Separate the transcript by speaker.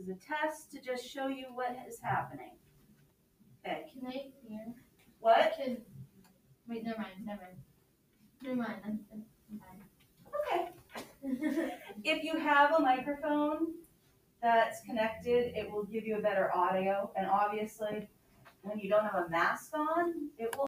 Speaker 1: is a test to just show you what is happening. Okay,
Speaker 2: Can they hear?
Speaker 1: what?
Speaker 2: Can, wait, never mind, never mind. Never mind, I'm, I'm- I'm
Speaker 1: Okay.
Speaker 2: fine.
Speaker 1: If you have a microphone that's connected, it will give you a better audio. And obviously, when you don't have a mask on, it will